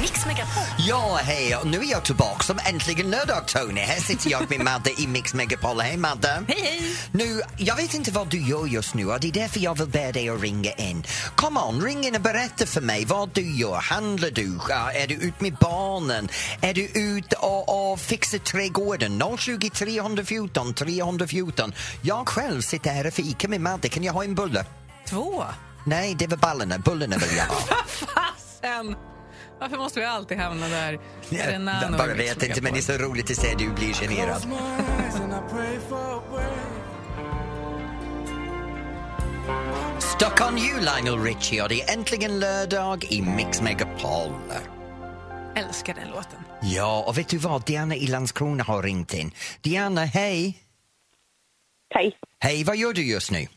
Mix Megapol. Ja, hej! och Nu är jag tillbaka som äntligen lördag, Tony. Här sitter jag med Madde i Mix Megapol. Hej, Madde! Hej, hej. Nu, jag vet inte vad du gör just nu och det är därför jag vill be dig att ringa in. Come on, ring in och berätta för mig vad du gör. Handlar du? Ja, Är du ut med barnen? Är du ute och, och fixar trädgården? 020 314 314. Jag själv sitter här och fikar med Madde. Kan jag ha en bulle? Två? Nej, det var ballarna. Bullarna vill jag ha. Fasen! Varför måste vi alltid hamna där? Är det liksom Nano Jag bara och Mix vet inte, men det är så roligt att se att du blir generad. Stuck on you, Lionel Richie, och det är äntligen lördag i Mix Megapol. Megapol? Älskar den låten. Ja, och vet du vad? Diana i Landskrona har ringt in. Diana, hej! Hej. Hej, vad gör du just nu? Eh,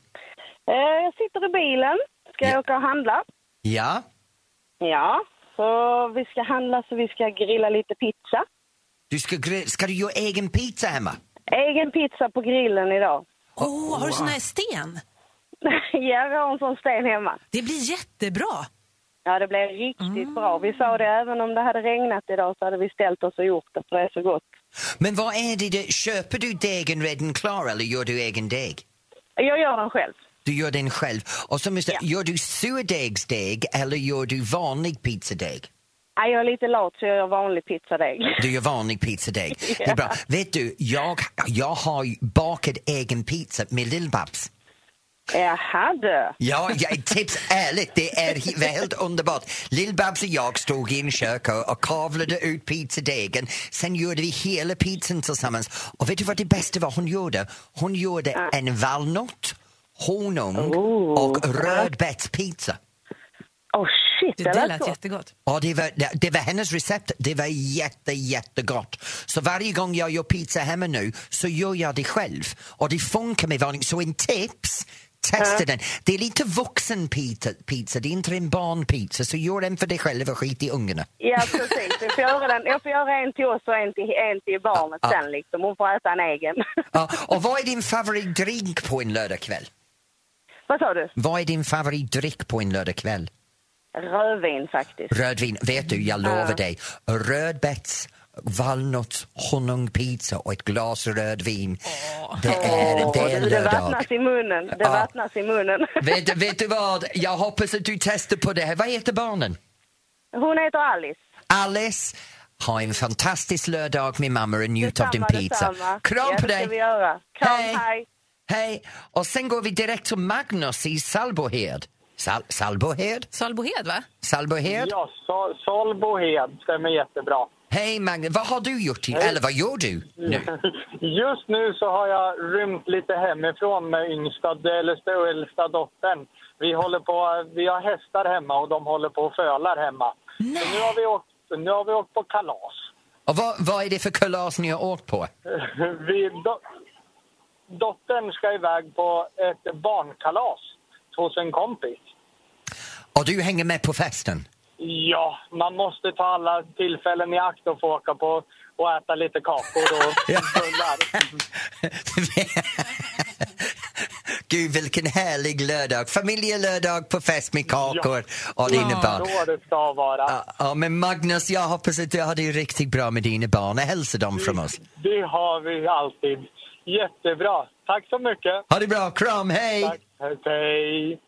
jag sitter i bilen. Ska Ja. åka och handla? Ja, Ja. Så vi ska handla så vi ska grilla lite pizza. du ska, gre- ska du göra egen pizza hemma? Egen pizza på grillen idag. Åh, har du sån här sten? ja, vi har en sån sten hemma. Det blir jättebra. Ja, det blev riktigt bra. Vi sa det, även om det hade regnat idag så hade vi ställt oss och gjort det, för det är så gott. Men vad är det, det köper du degen redan klar eller gör du egen deg? Jag gör den själv. Du gör den själv. Och så måste, Ja. Gör du surdegsdeg eller gör du vanlig pizzadeg? Nej, jag är lite lat så jag gör vanlig pizzadeg. Du gör vanlig pizzadeg. Det är bra. Vet du, jag, jag har ju bakat egen pizza med lillbabs. Jaha du. Ja, jag, tips ärligt, det är he- var helt underbart. Lillbabs och jag stod i en kök och, och kavlade ut pizzadegen. Sen gjorde vi hela pizzan tillsammans. Och vet du vad det bästa var hon gjorde? Hon gjorde en valnöt, honung och rödbetspizza. Åh shit, Det det där lät lät gott. jättegott. Ja, det var, det, det var hennes recept. Det var jätte, jättegott. Så varje gång jag gör pizza hemma nu så gör jag det själv. Och det funkar med varning. Så en tips, testa den. Det är lite vuxen pizza, pizza, det är inte en barnpizza. Så gör den för dig själv och skit i ungarna. Ja, precis. Jag får, göra den. jag får göra en till oss och en till, en till barnet Ja. sen liksom. Hon får äta en egen. Ja, och vad är din favoritdrink på en lördagkväll? Vad sa du? Vad är din favoritdryck på en lördagkväll? Rödvin faktiskt. Rödvin, vet du, jag lovar Ja. dig. Rödbets, valnöts, honungpizza och ett glas rödvin. Det är, det är Åh, Eh, det lördag. vattnas i munnen. Det Ja. vattnas i munnen. Vet, vet du vad? Jag hoppas att du testar på det här. Vad heter barnen? Hon heter Alice. Alice, ha en fantastisk lördag med mamma och njut av din Detsamma, pizza. detsamma. Kram ja, på det ska vi dig! göra. Kram, Hej. hej. Hej! Och sen går vi direkt till Magnus i Salbohed. Sal Salbohed? Salbohed, va? Salbohed? Ja, Sol- Solbohed stämmer jättebra. Hej Magnus, vad har du gjort? I, Eller vad gör du nu? Just nu så har jag rymt lite hemifrån med yngsta, eller stö- äldsta dottern. Vi, håller på, vi har hästar hemma och de håller på och fölar hemma. Så nu har vi åkt, nu har vi åkt på kalas. Och vad, vad är det för kalas ni har åkt på? Vi, do, dottern ska iväg på ett barnkalas hos en kompis. Och du hänger med på festen? Ja, man måste ta alla tillfällen i akt och få åka på och äta lite kakor och bullar. Gud, vilken härlig lördag. Familjelördag på fest med kakor och dina barn. Så det ska vara. Ja, ja, men Magnus, jag hoppas att du har det riktigt bra med dina barn. Hälsa dem från oss. Det har vi alltid. Jättebra. Tack så mycket. Ha det bra, kram, hej! Tack. Hej.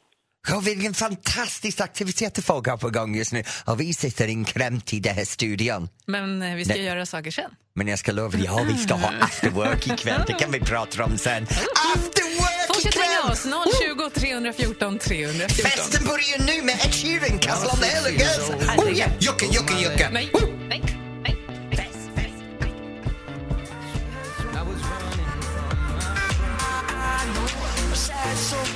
Ja, vilken fantastisk aktivitet det folk har på gång just nu. Och vi sitter inkrämt i den här studion. Men eh, vi ska Nej. göra saker sen. Men jag ska lova dig, ja, vi ska ha after work ikväll. Det kan vi prata om sen. After work Fortsätt ringa ikväll! oss, 020 314 314. Festen börjar ju nu med Ed Sheeran, Castle on the Hill Girls. Oh yeah, Jocke, Jocke, Jocke. Nej, nej, nej. Fest, fest.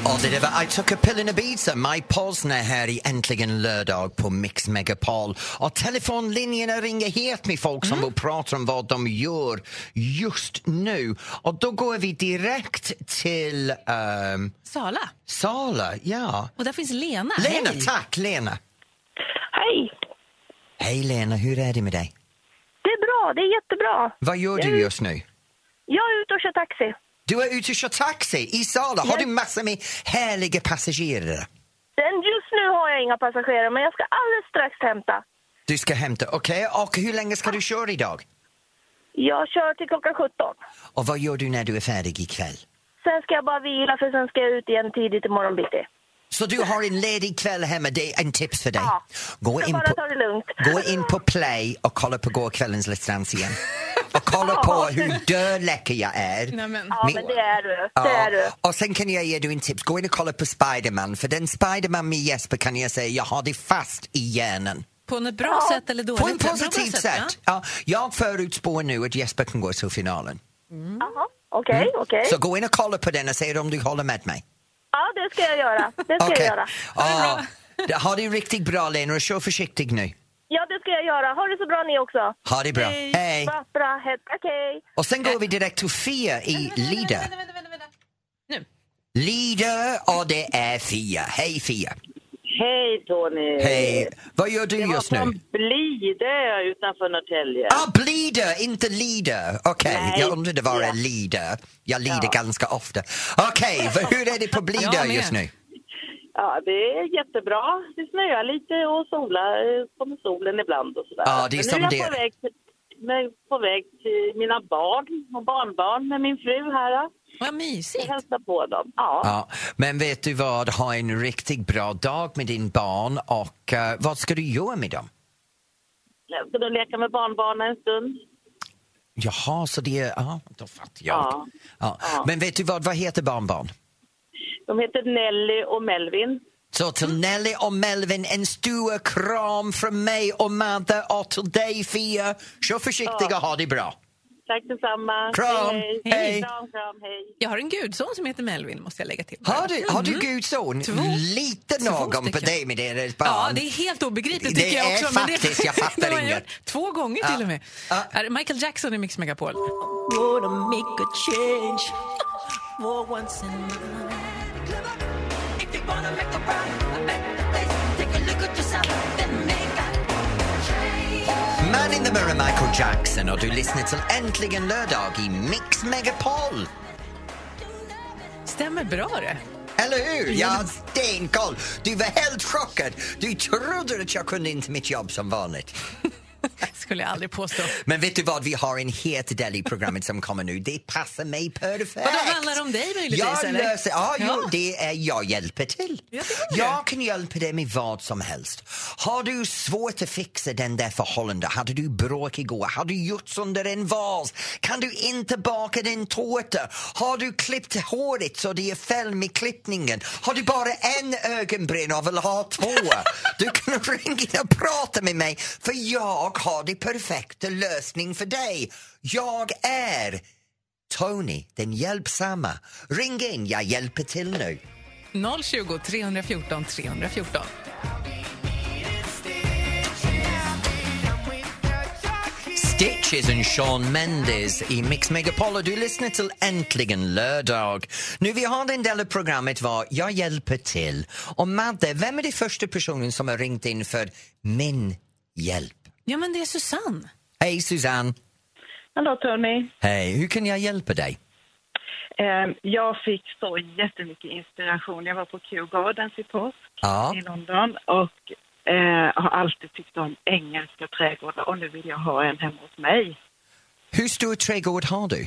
Och det där var I took a pill in Ibiza, My Posner här i Äntligen lördag på Mix Megapol. Och telefonlinjerna ringer helt med folk Mm. som vill prata om vad de gör just nu. Och då går vi direkt till ehm, Sala. Sala, ja. Och där finns Lena. Lena, Hej. tack Lena! Hej! Hej Lena, hur är det med dig? Det är bra, det är jättebra. Vad gör du just nu? Jag är ute och kör taxi. Du är ute och kör taxi i Sala. Har du massor med härliga passagerare? Den, just nu har jag inga passagerare, men jag ska alldeles strax hämta. Du ska hämta, okej? Och hur länge ska du köra idag? Jag kör till klockan 17. Och vad gör du när du är färdig ikväll? Sen ska jag bara vila, för sen ska jag ut igen tidigt imorgon bitti. Så du har en ledig kväll hemma, det är en tips för dig. Ja. Gå, Så in bara på, ta det lugnt. gå in på play och kolla på gårkvällens Let's Dance igen. Och kolla på hur dödläcker jag är. Nej, men. Ja, men det är du. Ja, Det är du. Och sen kan jag ge dig en tips, gå in och kolla på Spiderman för den Spiderman med Jesper kan jag säga, jag har det fast i hjärnan. På något bra sätt eller dåligt På en sätt? Bra, bra positiv sätt. Ja, jag förutspår nu att Jesper kan gå till finalen. Jaha, okej, okej. Mm. Så gå in och kolla på den och säg om du håller med mig. Ja, det ska jag göra. Det ska jag göra. Ja, det- ha det riktigt bra Lena och kör försiktigt nu. Ja, det ska jag göra. Ha det så bra ni också. Ha det bra. Hej! Bra, bra. He- Okej. Och sen går vi direkt till Fia i Lida. Vänta, vänta, vänta, vänta. Nu. Lida och det är Fia. Hej Fia! Hej Tony! Hej! Vad gör du Det var just nu? från Blide utanför Norrtälje. Ah, Blida, inte Lida. Okej, Nej. jag undrade var är Ja. Lida. Jag lider ganska ofta. Okej, vad- hur är det på Blida Jag med. just nu? Ja, det är jättebra. Det snöar lite och solar, eh, kommer solen ibland och sådär. Ja, det är Men som nu är det jag är. på väg, till, med, på väg till mina barn och barnbarn med min fru här. ja. Vad Jag mysigt. hälsar på dem. Ja. Ja, men vet du vad, ha en riktigt bra dag med din barn och eh, vad ska du göra med dem? Jag ska då leka med barnbarnen en stund. Jaha, så det är... Ja, då fattar jag. Ja. Ja. Ja. Men vet du vad, vad heter barnbarn? De heter Nelly och Melvin. Så till Nelly och Melvin, en stor kram från mig och Madde och till dig Fia. Kör försiktigt och ha det bra. Tack detsamma. Kram. Hej, Hej. hej. Kram, kram, hej. Jag har en gudson som heter Melvin, måste jag lägga till. Har du, har du gudson? Två. Lite Två någon på stycken. dig med deras barn. Ja, det är helt obegripligt Det tycker jag är också. faktiskt, jag fattar det har inget. gjort Två gånger till och med. Ja. Är det Michael Jackson i Mix Megapol. Man in the mirror, Michael Jackson och du lyssnar till Äntligen lördag i Mix Megapol. Stämmer bra det. Eller hur? Jag har stenkoll. Du var helt chockad. Du trodde att jag kunde inte mitt jobb som vanligt. Skulle jag aldrig påstå. Men vet du vad, vi har en het del i programmet som kommer nu. Det passar mig perfekt. Vadå, handlar det om dig möjligtvis, Jag eller? löser, ja, Jo, Ja. det är jag hjälper till. Jag tycker det. Jag kan hjälpa dig med vad som helst. Har du svårt att fixa den där förhållandet? Hade du bråk igår? Har du gjort sönder en vas? Kan du inte baka din tårta? Har du klippt håret så det är fel med klippningen? Har du bara en ögonbryn och vill ha två? Du kan ringa och prata med mig för jag har det perfekta lösning för dig. Jag är Tony, den hjälpsamma. Ring in, jag hjälper till nu. 020 314 314. Stitches and Sean Mendes i Mix Megapol och du lyssnar till Äntligen lördag. Nu vi har den del av programmet var Jag hjälper till. Och Madde, vem är den första personen som har ringt in för min hjälp? Ja, men det är Susanne. Hej Susanne! Hallå Tony. Hej, hur kan jag hjälpa dig? Ehm, Jag fick så jättemycket inspiration. Jag var på Kew Gardens i påsk Ja, i London och eh, har alltid tyckt om engelska trädgårdar och nu vill jag ha en hemma hos mig. hur stor trädgård har du?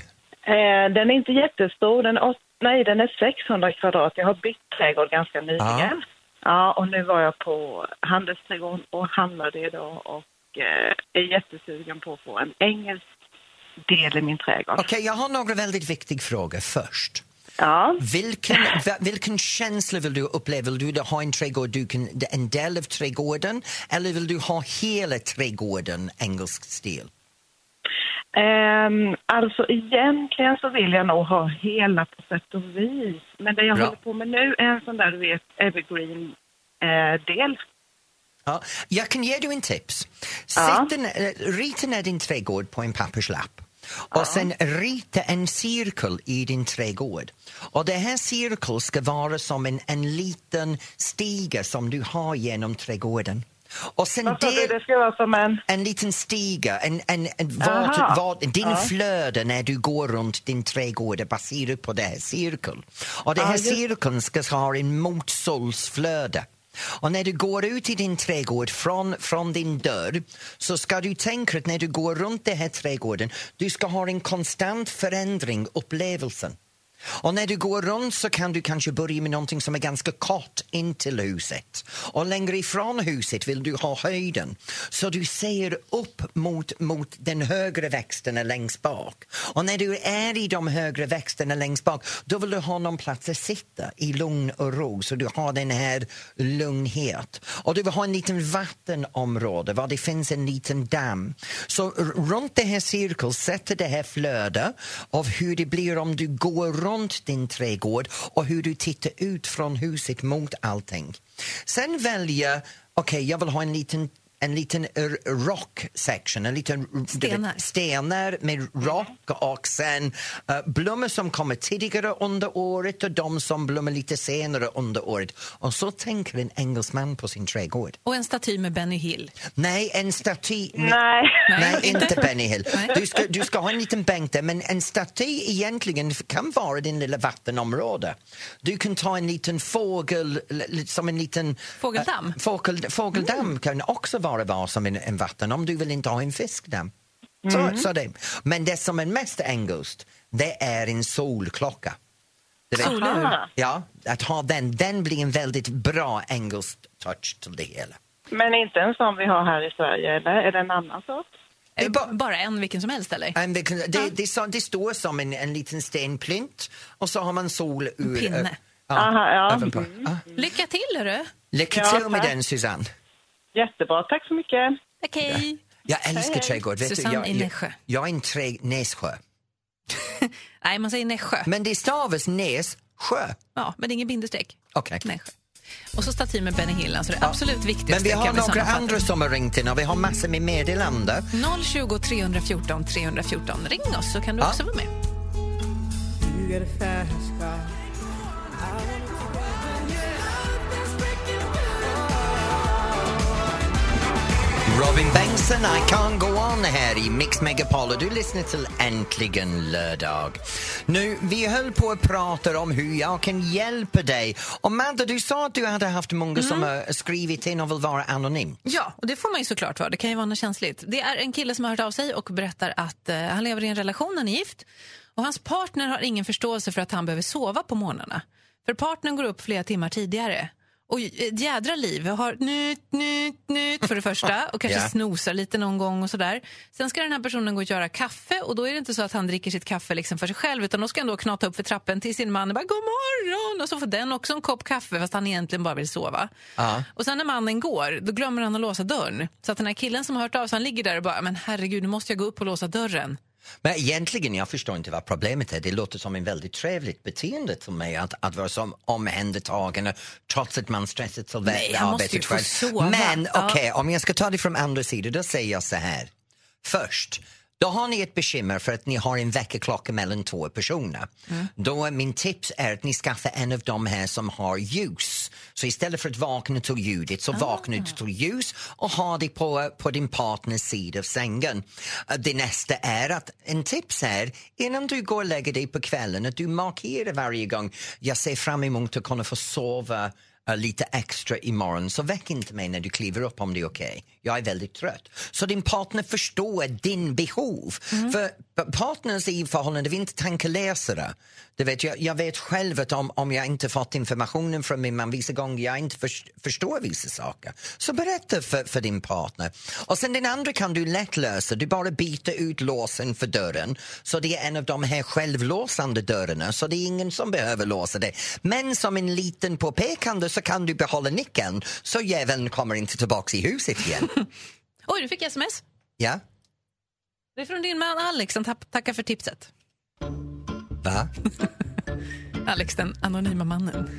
Eh, den är inte jättestor, den är, åt, nej, den är 600 kvadrat. Jag har bytt trädgård ganska nyligen. Ja, och nu var jag på handelsträdgården och handlade idag och eh, är jättesugen på att få en engelsk del i min trädgård. Okej, jag har några väldigt viktiga frågor först. Ja. Vilken, va- vilken känsla vill du uppleva? Vill du ha en trädgård, du kan, en del av trädgården eller vill du ha hela trädgården engelsk stil? Ehm, Alltså egentligen så vill jag nog ha hela på sätt och vis. Men det jag Bra. håller på med nu är en sån där du vet eh, evergreen-del. Ja, jag kan ge dig en tips. Ja. Sätt en, eh, rita ner din trädgård på en papperslapp och sen rita en cirkel i din trädgård. Och den här cirkeln ska vara som en, en liten stige som du har genom trädgården. Och sen Vad sa du, där- det ska vara som en... en liten stiga, en, en, en Mm. Aha. vart, vart, din Ja. flöde när du går runt din trädgård är baserat på det här cirkeln. Och den Ja, här just- cirkeln ska ha en motsolsflöde. Och när du går ut i din trädgård från, från din dörr så ska du tänka att när du går runt den här trädgården du ska ha en konstant förändring, upplevelsen. Och när du går runt så kan du kanske börja med någonting som är ganska kort in till huset. Och längre ifrån huset vill du ha höjden. Så du ser upp mot, mot den högre växterna längst bak. Och när du är i de högre växterna längst bak då vill du ha någon plats att sitta i lugn och ro så du har den här lugnhet. Och du vill ha en liten vattenområde var det finns en liten damm. Så r- runt det här cirkeln sätter det här flödet av hur det blir om du går runt din trädgård och hur du tittar ut från huset mot allting. Sen välja, okej jag vill ha en liten en liten r- rock section, en liten r- Stenar. stenar med rock och sen eh, blommor som kommer tidigare under året och de som blommar lite senare under året. Och så tänker en engelsman på sin trädgård. Och en staty med Benny Hill. Nej, en staty... Nej. Nej, inte Benny Hill. Nej. Du ska, du ska ha en liten bänk där, men en staty egentligen kan vara din lilla vattenområde. Du kan ta en liten fågel, l- l- som en liten... Fågeldamm? eh, fågel, fågeldamm kan också vara var som en, en vatten, om du vill inte ha en fiskdamm. Så, Mm. så det. Men det som är mest engelskt, det är en solklocka. Du vet- Aha. Ja, att ha den, den blir en väldigt bra engelsk touch till det hela. Men inte en sån vi har här i Sverige, eller? Är det en annan sort? Det är Eh, bara- Bara en vilken som helst eller? En, vilken- det, det, är så- det står som en, en liten stenplint och så har man sol ur... pinne. Mm. ö- ja, Aha, ja. överpå. Ja. Lycka till hörru! Lycka Ja, till med tack. den, Susanne. Jättebra, tack så mycket. Okej. Jag älskar trädgård. Vet Susanne du, jag, i Nässjö. jag, jag är en trä, Nässjö. Nej, man säger Nässjö. Men det stavas Nässjö. Ja, men det är ingen bindestreck. Okej. Nässjö. Och så staty med Benny Hill, alltså det absolut viktigaste. Men vi har kan vi några sammanfatta. andra som har ringt in och vi har massor med meddelanden. 020 314 314. Ring oss så kan du Ja. också vara med. Robin Bengtsson, I can't go on här i Mix Megapol och du lyssnar till Äntligen lördag. Nu, vi höll på att prata om hur jag kan hjälpa dig. Och Madde, du sa att du hade haft många som Mm. har skrivit in och vill vara anonym. Ja, och det får man ju såklart vara. Det kan ju vara något känsligt. Det är en kille som har hört av sig och berättar att eh, han lever i en relation, han är gift. Och hans partner har ingen förståelse för att han behöver sova på morgnarna. För partnern går upp flera timmar tidigare. Och eh, ett jädra liv. Har nyt, nyt, nyt för det första. Och kanske Ja. snosar lite någon gång och sådär. Sen ska den här personen gå och göra kaffe. Och då är det inte så att han dricker sitt kaffe liksom för sig själv. Utan då ska han då knata upp för trappen till sin man och bara god morgon. Och så får den också en kopp kaffe fast han egentligen bara vill sova. Ja. Och sen när mannen går, då glömmer han att låsa dörren. Så att den här killen som har hört av sig, han ligger där och bara, men herregud, nu måste jag gå upp och låsa dörren. Men egentligen, jag förstår inte vad problemet är. Det låter som en väldigt trevligt beteende till mig att, att vara som omhändertagande trots att man stressar till Nej, vä- han måste ju arbetet få själv. sova. Men Ja. okej, om jag ska ta det från andra sidan, då säger jag så här. Först, då har ni ett bekymmer för att ni har en väckarklocka mellan två personer. Då är min tips är att ni skaffar en av de här som har ljus. Så istället för att vakna till ljudet så vaknar du till ljus och har det på, på din partners sida av sängen. Eh, Det nästa är att en tips är innan du går och lägger dig på kvällen att du markerar varje gång jag ser fram emot att kunna få sova eh, lite extra imorgon så väck inte mig när du kliver upp om det är okej. Jag är väldigt trött. Så din partner förstår din behov. För p- partners i förhållande, vi är inte tankeläsare. Du vet, jag, jag vet själv att om, om jag inte fått informationen från min man vissa gånger jag inte förs- förstår vissa saker. Så berätta för, för din partner. Och sen den andra kan du lätt lösa. Du bara byter ut låsen för dörren så det är en av de här självlåsande dörrarna så det är ingen som behöver låsa det. Men som en liten påpekande så kan du behålla nyckeln så jäveln kommer inte tillbaka i huset igen. Oj, du fick sms. ja? Det är från din man Alex som tapp- tackar för tipset. Va? Alex, den anonyma mannen.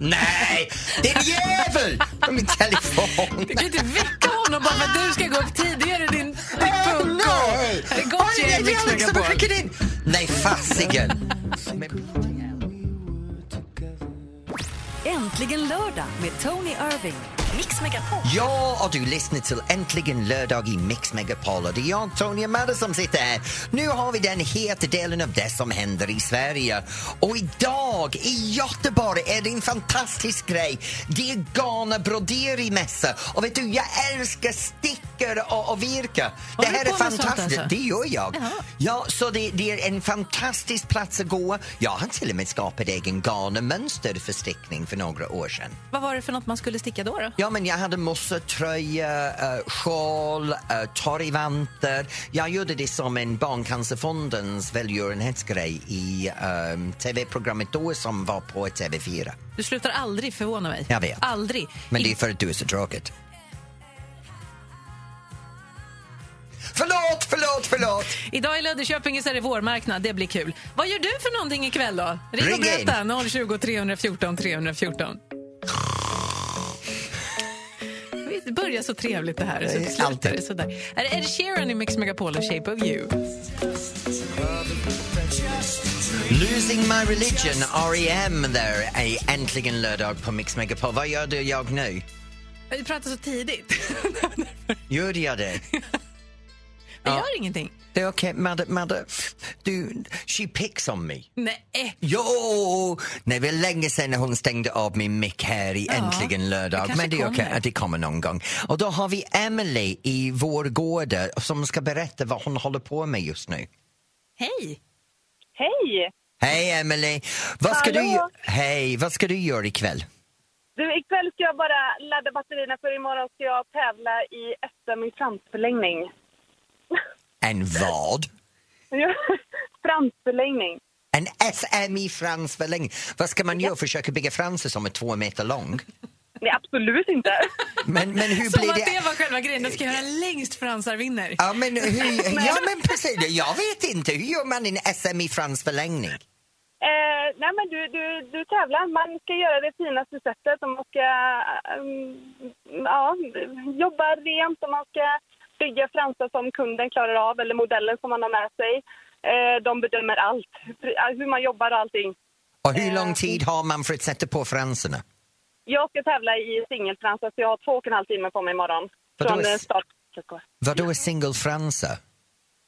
Nej! Din jävel! På min telefon! Du kan inte väcka honom bara för att du ska gå upp tidigare, din, din Åh, punko. nej! Det är Åh, gott det är gäng, Mix Alex som har Megapol. skickat in! Nej, fasiken! Äntligen lördag med Tony Irving. Mix Megapol. Ja, och du lyssnar till Äntligen lördag i Mix Megapol och det är jag, Tony Amanda, som sitter här. Nu har vi den heta delen av det som händer i Sverige. Och idag i Göteborg är det en fantastisk grej. Det är Ghana broderimässa. Och vet du, jag älskar stickor och, och virke. Det Håller du här är på med sånt fantastiskt. alltså? Det gör jag. Jaha. Ja, så det, det är en fantastisk plats att gå. Jag har till och med skapat egen Ghana-mönster för stickning för några år sedan. Vad var det för något man skulle sticka då? då? Ja, men jag hade mossa, tröja, eh, sjal, eh, torgvantar. Jag gjorde det som en Barncancerfondens välgörenhetsgrej i ehm, tv-programmet då som var på TV4. Du slutar aldrig förvåna mig. Jag vet. Aldrig. Men I- det är för att du är så tråkigt. Förlåt, förlåt, förlåt! Idag i Löddeköpinge så är det vårmarknad, det blir kul. Vad gör du för någonting ikväll då? Ring, och Ring in. berätta, 020 314 314. Vi börjar så trevligt det här och så Eh, slutar alltid. det sådär. Här är Ed Sheeran i Mix Megapol och Shape of You. Losing my religion, R.E.M. där, är äntligen lördag på Mix Megapol. Vad gör du jag nu? Vi pratar så tidigt. Gör jag det? Det gör ingenting. Det är okej, Madde, Madde, du, she picks on me. Nej, eh, Jo! Nej, det var länge sedan när hon stängde av min mick här i Äntligen lördag. kanske Men det är okej, kommer. det kommer någon gång. Och då har vi Emily i vår gård som ska berätta vad hon håller på med just nu. hej! Hej! Hej Emily! Vad ska du, Hallå. hej, vad ska du göra ikväll? Du, ikväll ska jag bara ladda batterierna för imorgon ska jag tävla i SM i fransförlängning. En vad? fransförlängning. En SM i fransförlängning. Vad ska man göra? Försöka bygga franser som är två meter lång? Nej, absolut inte. Men, men hur Som blir att det? det var själva grejen, de ska göra längst fransar vinner. Ja men, hur, ja, men precis. Jag vet inte. Hur gör man en SM i fransförlängning? Eh, nej, men du, du, du tävlar. Man ska göra det finaste sättet och man ska ehm, ja, jobba rent och man ska bygga fransar som kunden klarar av eller modellen som man har med sig. Eh, de bedömer allt, Pr- hur man jobbar och allting. Och hur Eh, lång tid har man för att sätta på franserna? Jag ska tävla i singelfransar så jag har två och en halv timme på mig imorgon. Vadå Från är- eh, start. Vadå är singelfranser?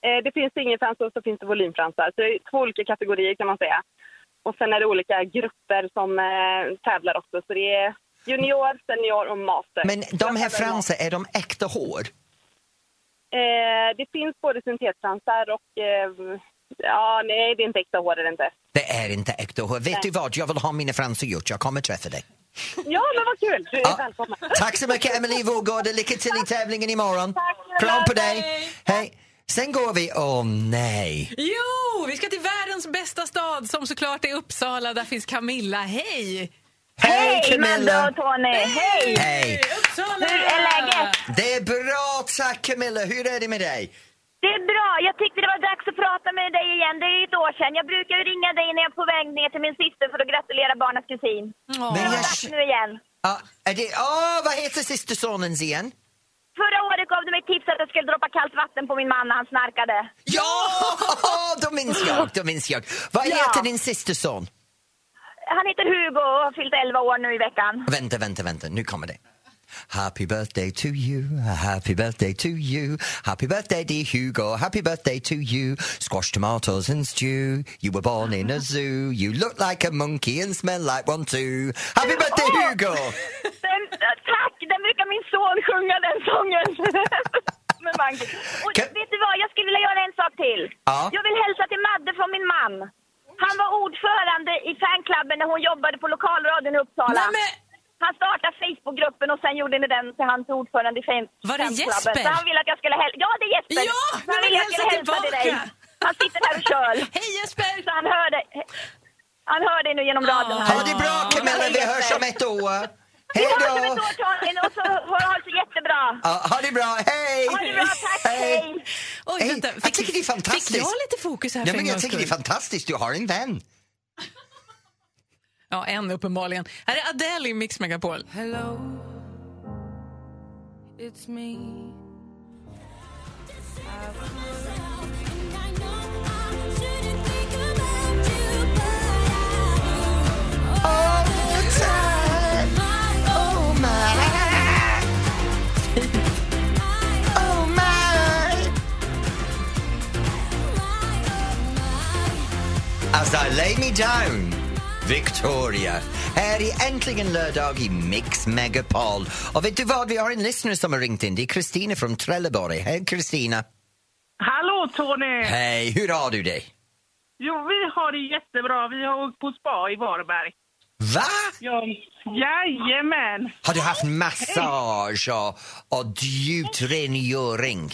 Eh, det finns singelfransar och så finns det volymfransar. Så det är två olika kategorier kan man säga. Och sen är det olika grupper som eh, tävlar också. Så det är junior, senior och master. Men de här Jag tävlar i franser, är de äkta hår? Eh, det finns både syntetfransar och... Eh, ja, nej, det är inte äkta hår. Är det inte. Det är inte äkta hår. Vet du vad, jag vill ha mina fransar gjort. Jag kommer träffa dig. Ja, men vad kul! Du är Ja. välkommen. Tack så mycket Emily Vårgård. Lycka till i tävlingen imorgon. Tack snälla, Kram på dig. hej. Hej. Sen går vi, åh nej. Jo, vi ska till världens bästa stad som såklart är Uppsala. Där finns Camilla. Hej! Hej Camilla! Tony! Hej! Hej! Uppsala! Hur är läget? Det är bra tack Camilla. Hur är det med dig? Det är bra. Jag tyckte det var dags att prata med dig igen. Det är ju ett år sedan. Jag brukar ju ringa dig när jag är på väg ner till min syster för att gratulera barnens kusin. Ja. Men jag... Dags nu igen. Ja, är det... Åh, vad heter systersonens igen? Förra året gav du mig tips att jag skulle droppa kallt vatten på min man när han snarkade. Ja! Då minns jag, då minns jag. Vad Ja. heter din systerson? Han heter Hugo och har fyllt 11 år nu i veckan. Vänta, vänta, vänta, nu kommer det. Happy birthday to you, happy birthday to you Happy birthday dear Hugo, happy birthday to you Squash tomatoes and stew, you were born in a zoo You look like a monkey and smell like one too Happy birthday Oh! Hugo! Den, tack! Den brukar min son sjunga, den sången. Med Magnus. och Kan- vet du vad, jag skulle vilja göra en sak till. Ja. Jag vill hälsa till Madde från min man. Han var ordförande i fanklubben när hon jobbade på lokalradion i Uppsala. Nej, men- Han startade Facebookgruppen och sen gjorde ni den till hans ordförande i fan- Var det fanklubben. Jesper? Så han ville att jag skulle hälsa. Ja, det är Jesper! Ja, Så men han ville att jag hälsa skulle hälsa till dig. tillbaka. Han sitter här och kör. Hej Jesper! Så han hör dig. Han hör dig nu genom radion. här. Ha det bra Camilla, vi hörs om ett år! Hej Vi hörs om då! ett år, Torkel, och så har ha det så jättebra. Ja, ha det bra, hej! Ha det bra, tack, hej! Oj, Hej, vänta, jag tycker det är fantastiskt. Fick jag lite fokus här Nej, för en men jag gångs tycker det är skull? fantastiskt, du har en vän. Ja, en uppenbarligen. Här är Adele i Mix Megapol. Hello, it's me. As I Alltså, lay me down, Victoria. Här är äntligen lördag i Mix Megapol. Och vet du vad, vi har en lyssnare som har ringt in. Det är Kristina från Trelleborg. Hej Kristina! Hallå Tony! Hej, hur har du det? Jo, vi har det jättebra. Vi har åkt på spa i Varberg. Va? Ja. Jajamän! Har du haft massage och, och djuprengöring?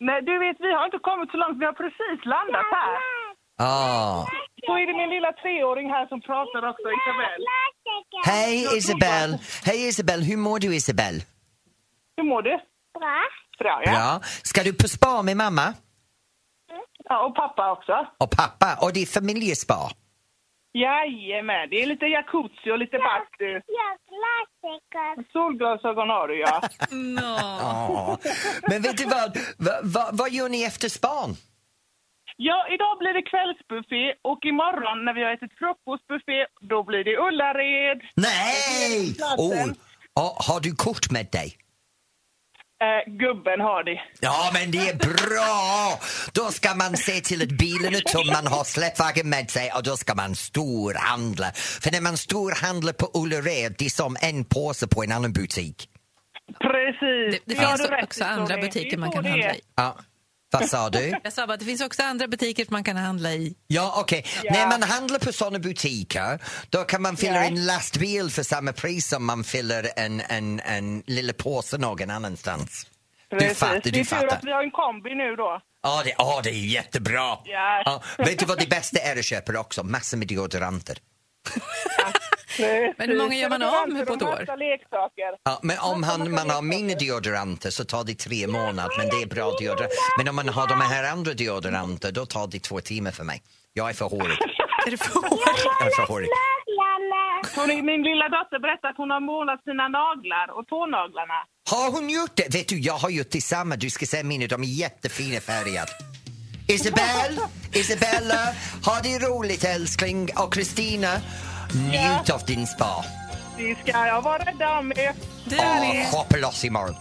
Nej, du vet, vi har inte kommit så långt. Vi har precis landat här. Ah. Så är det min lilla treåring här som pratar också, Isabel. Hej Isabel! Hej Isabel, hur mår du Isabel? Hur mår du? Bra. Bra, ja. Bra. Ska du på spa med mamma ja och pappa också. och pappa och det är familjespa? Jajamän, det är lite jacuzzi och lite bastu. Solglasögon har du, ja. Mm, Ja. Men vet du vad, va, va, vad gör ni efter span? Ja, idag blir det kvällsbuffé och imorgon när vi har ätit frukostbuffé, då blir det Ullared. Nej! Oh. Ja, har du kort med dig? Eh, gubben har det. Ja, men det är bra! Då ska man se till att bilen är tom, man har släpvagnen med sig och då ska man storhandla. För när man storhandlar på Ullared, det är som en påse på en annan butik. Precis. Det, det har finns du rätt också i, andra Tony. Det butiker är man så kan det handla är. i. Ja. Vad sa du? Jag sa bara att det finns också andra butiker man kan handla i. Ja, okej. När man handlar på såna butiker, då kan man fylla en lastbil för samma pris som man fyller en, en, en lilla påse någon annanstans. Du Precis. fattar, det du är tur fattar. att vi har en kombi nu då. Ja, det, ja, det är jättebra. Ja. vet du vad det bästa är att köpa också? Massor med deodoranter. Men hur många gör man av med på ett Och år? massa leksaker. Ja, men om han, man har mina deodoranter så tar det tre månader, men det är bra deodorant. Men om man har de här andra deodoranter, då tar det två timmar för mig. Jag är för hårig. Är det för hårt? Jag är för hårig. Tony, min lilla dotter berättar att hon har målat sina naglar och tånaglarna. Har hon gjort det? Vet du, jag har gjort detsamma. Du ska se mina, de är jättefina färgade. Isabel, Isabella, ha det roligt älskling. Och Kristina, njut av din spa. Det ska jag vara rädd om. er. Du Och med. shoppa loss imorgon.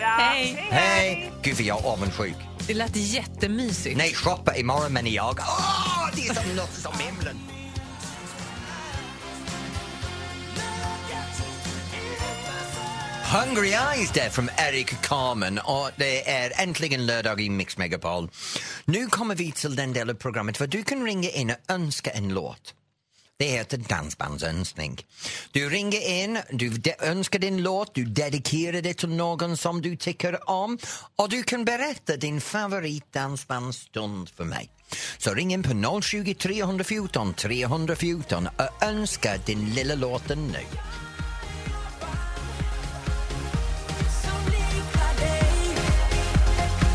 Ja. Hej. Hej! Gud vad jag är avundsjuk. Det lät jättemysigt. Nej, shoppa imorgon men jag. Åh, det är som något som himlen. Hungry Eyes där från Eric Carmen och det är äntligen lördag i Mix Megapol. Nu kommer vi till den delen av programmet för du kan ringa in och önska en låt. Det heter dansbandsönskning. Du ringer in, du de- önskar din låt, du dedikerar det till någon som du tycker om och du kan berätta din favoritdansbandsstund för mig. Så ring in på 020 314 314 och önska din lilla låten nu.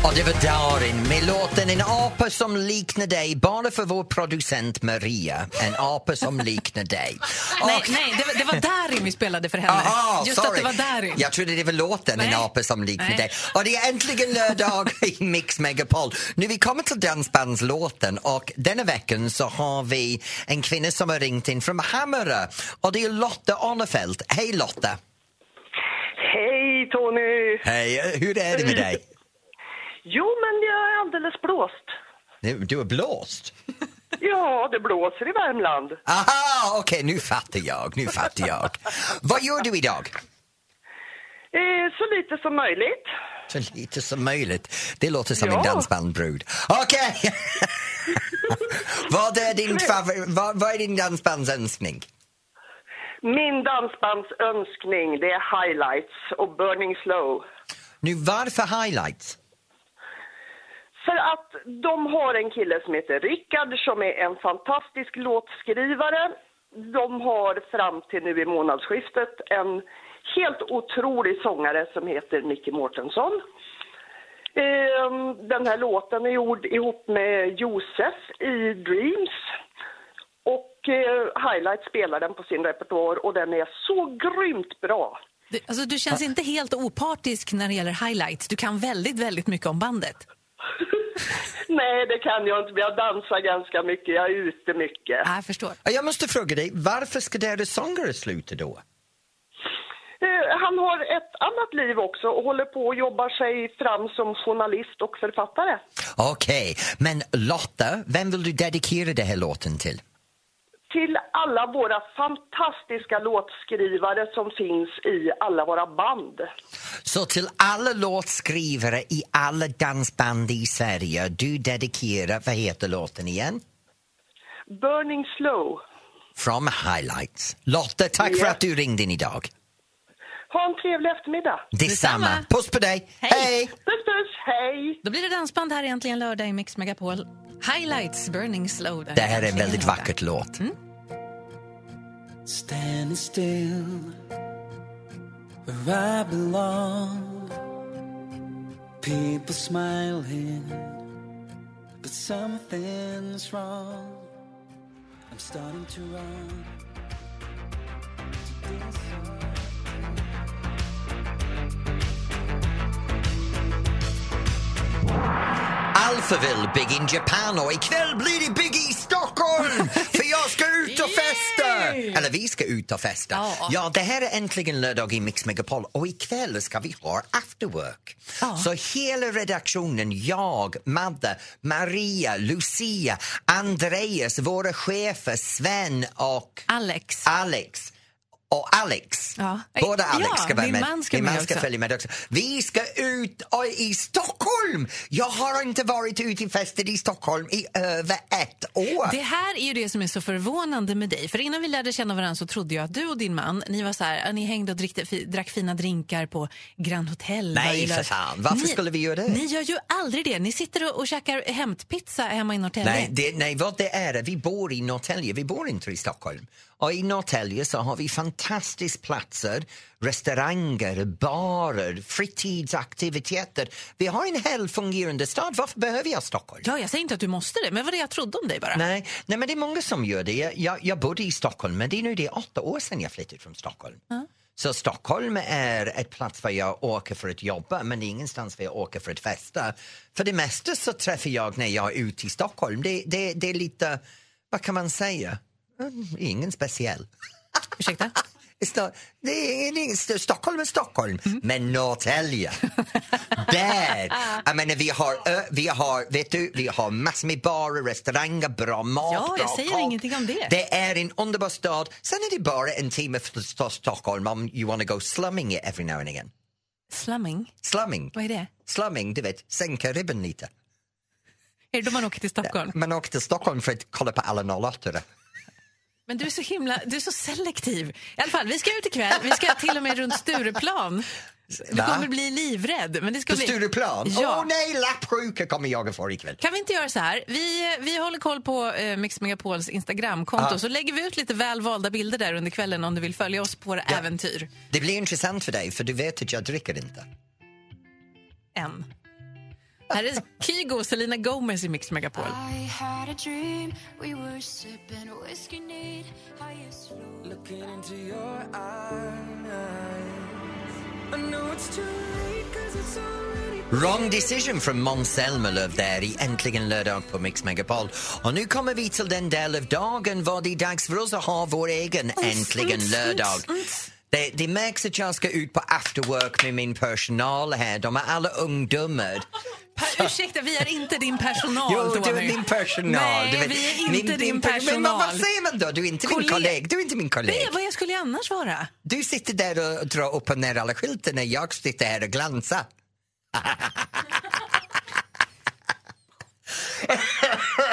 Och det var Darin med låten En apa som liknar dig bara för vår producent Maria. En apa som liknar dig. Nej, Och- nej det, var, det var Darin vi spelade för henne. Aha, Just Ah, sorry. att det var Darin. Jag trodde det var låten En Nej. apa som liknar Nej. dig. Och det är äntligen lördag i Mix Megapol. Nu vi kommer till dansbandslåten och denna veckan så har vi en kvinna som har ringt in från Hammarö och det är Lotta Arnefelt. Hej Lotta! Hej Tony! Hej, hur är det med dig? Jo, men jag är alldeles blåst. Du du är blåst. Ja, det blåser i Värmland. Aha, okej nu fattar jag, nu fattar jag. Vad gör du idag? Eh, så lite som möjligt. Så lite som möjligt. Det låter som en Ja. dansbandbrud. Okej! vad, är din favor- vad, vad är din dansbandsönskning? Min dansbandsönskning, det är highlights och burning slow. Nu, varför highlights? För att de har en kille som heter Rickard som är en fantastisk låtskrivare de har fram till nu i månadsskiftet en helt otrolig sångare som heter Micke Mårtensson. Ehm, Den här låten är gjord ihop med Josef i Dreams. Och eh, Highlight spelar den på sin repertoar och den är så grymt bra. Du, alltså, du känns inte helt opartisk när det gäller highlights. Du kan väldigt, väldigt mycket om bandet. Nej, det kan jag inte. men Jag dansar ganska mycket. Jag är ute mycket. Ja, jag förstår. Jag måste fråga dig, varför ska deras sångare sluta då? Eh, Han har ett annat liv också och håller på och jobbar sig fram som journalist och författare. Okej, men Lotta, vem vill du dedikera den här låten till? Till alla våra fantastiska låtskrivare som finns i alla våra band. Så till alla låtskrivare i alla dansband i Sverige, du dedikerar, vad heter låten igen? Burning Slow. From Highlights. Lotta, tack för Ja. att du ringde in idag. Ha en trevlig eftermiddag. Detsamma. Detsamma. Puss på dig. Hej. Hej. Puss, puss. Hej! Då blir det dansband här egentligen lördag i Mix Megapol. Highlights, Burning Slow. där Det här är en äntligen väldigt lördag. vacker låt. Mm. Standing still where I belong. People smiling, but something's wrong. I'm starting to run. Alphaville, Big in Japan och ikväll blir det Big i Stockholm! För jag ska ut och festa! Eller vi ska ut och festa. Ja. Ja, det här är äntligen lördag i Mix Megapol och ikväll ska vi ha after work. Så hela redaktionen, jag, Madde, Maria, Lucia, Andreas, våra chefer, Sven och Alex. Alex. Och Alex. Ja. Båda Alex Ja, ska vara din med. man ska Min med man ska också. följa med också. Vi ska ut och- i Stockholm! Jag har inte varit ute i fester i Stockholm i över ett år. Det här är ju det som är så förvånande med dig. För innan vi lärde känna varandra så trodde jag att du och din man, ni var så här, ja, ni hängde och drickte, fi, drack fina drinkar på Grand Hotel. Nej, varje lördag. för fan. Varför skulle vi göra det? Ni gör ju aldrig det. Ni sitter och, och käkar hämtpizza hemma i Norrtälje. Nej, det, nej, vad det är, är vi bor i Norrtälje, vi bor inte i Stockholm. Och i Norrtälje så har vi fantastiska platser, restauranger, barer, fritidsaktiviteter. Vi har en hel fungerande stad, varför behöver jag Stockholm? Ja, jag säger inte att du måste det, men vad det jag trodde om dig bara. Nej, nej, men det är många som gör det. Jag, jag, jag bodde i Stockholm, men det är nu det är åtta år sedan jag flyttade från Stockholm. Så Stockholm är ett plats där jag åker för att jobba, men det är ingenstans där jag åker för att festa. För det mesta så träffar jag när jag är ute i Stockholm. Det, det, det är lite, vad kan man säga? Mm, Ingen speciell. Ursäkta? Sto- det är ingen, St- Stockholm är Stockholm, men Norrtälje. Där! Jag menar, vi har, ö, vi har, vet du, vi har massor med barer, restauranger, bra mat, Ja, jag bra säger kok. ingenting om det. Det är en underbar stad. Sen är det bara en timme från st- Stockholm om you wanna go slumming every now and again. Slumming? Slumming, Vad är det? slumming, du vet, sänka ribban lite. Är det då man åker till Stockholm? Man åker till Stockholm för att kolla på alla 08 Men du är så himla, du är så selektiv. I alla fall, vi ska ut ikväll. Vi ska till och med runt Stureplan. Du Va? kommer bli livrädd. Men det ska På bli... Stureplan? Åh Ja. nej, lappsjuka kommer jag få ikväll. Kan vi inte göra så här? Vi, vi håller koll på eh, Mix Megapols Instagramkonto Ja. så lägger vi ut lite välvalda bilder där under kvällen om du vill följa oss på våra äventyr. Det blir intressant för dig, för du vet att jag dricker inte. Än. Här är Kygo och Selena Gomez i Mix Megapol. Looking into your eyes. I know it's too late 'cause it's already Wrong Decision från Måns Zelmerlöw där i Äntligen lördag på Mix Megapol. Och nu kommer vi till den del av dagen var det är dags för oss att ha vår egen Äntligen lördag. Det, det märks att jag ska ut på after work med min personal här. De är alla ungdomar. Pa, ursäkta, vi är inte din personal, Jo, du är Tony. min personal. Nej, du vet. vi är inte Min- din, per- personal. Men vad, vad säger man då? Du är inte min Kolleg- kollega. Du är inte min kollega. Nej, vad jag skulle annars vara? Du sitter där och drar upp och ner alla skyltar när jag sitter här och glansar.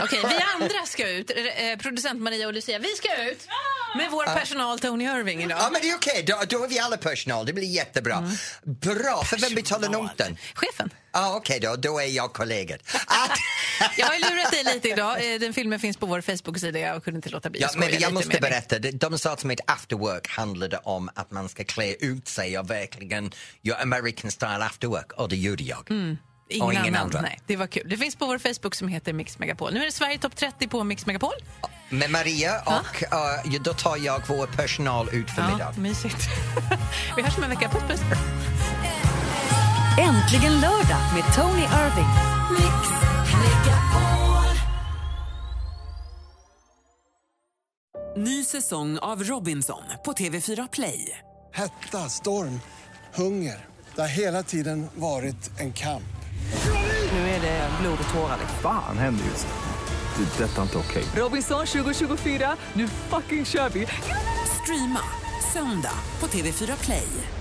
Okej, vi andra ska ut. Eh, producent Maria och Lucia, vi ska ut. Med vår personal Tony Irving idag. Ja, men det är okej. Då, då är vi alla personal. Det blir jättebra. Mm. Bra, för vem betalar notan? Chefen. Ja, okej då. Då är jag kollegan. Att- Jag har ju lurat dig lite idag. Eh, Den filmen finns på vår Facebook-sida. Jag kunde inte låta bli Ja, att skoja men jag lite måste med dig. berätta, de- de sa till mig att after work handlade om att man ska klä ut sig och verkligen göra American style after work. Och det gjorde jag. Mm. Ingen, Och ingen annan. andra. Nej, det var kul. Det finns på vår Facebook som heter Mix Megapol. Nu är det Sverige topp 30 på Mix Megapol. Med Maria och eh, då tar jag vår personal ut för middag. mysigt. Vi hörs om en vecka. Puss, puss. Äntligen lördag med Tony Irving. Ny säsong av Robinson på TV4 Play. Hetta, storm, hunger. Det har hela tiden varit en kamp. Nu är det blod och tårar. Fan händer just det. Det är detta inte okej. Robinson 2024, nu fucking kör vi! Streama söndag på TV4 Play.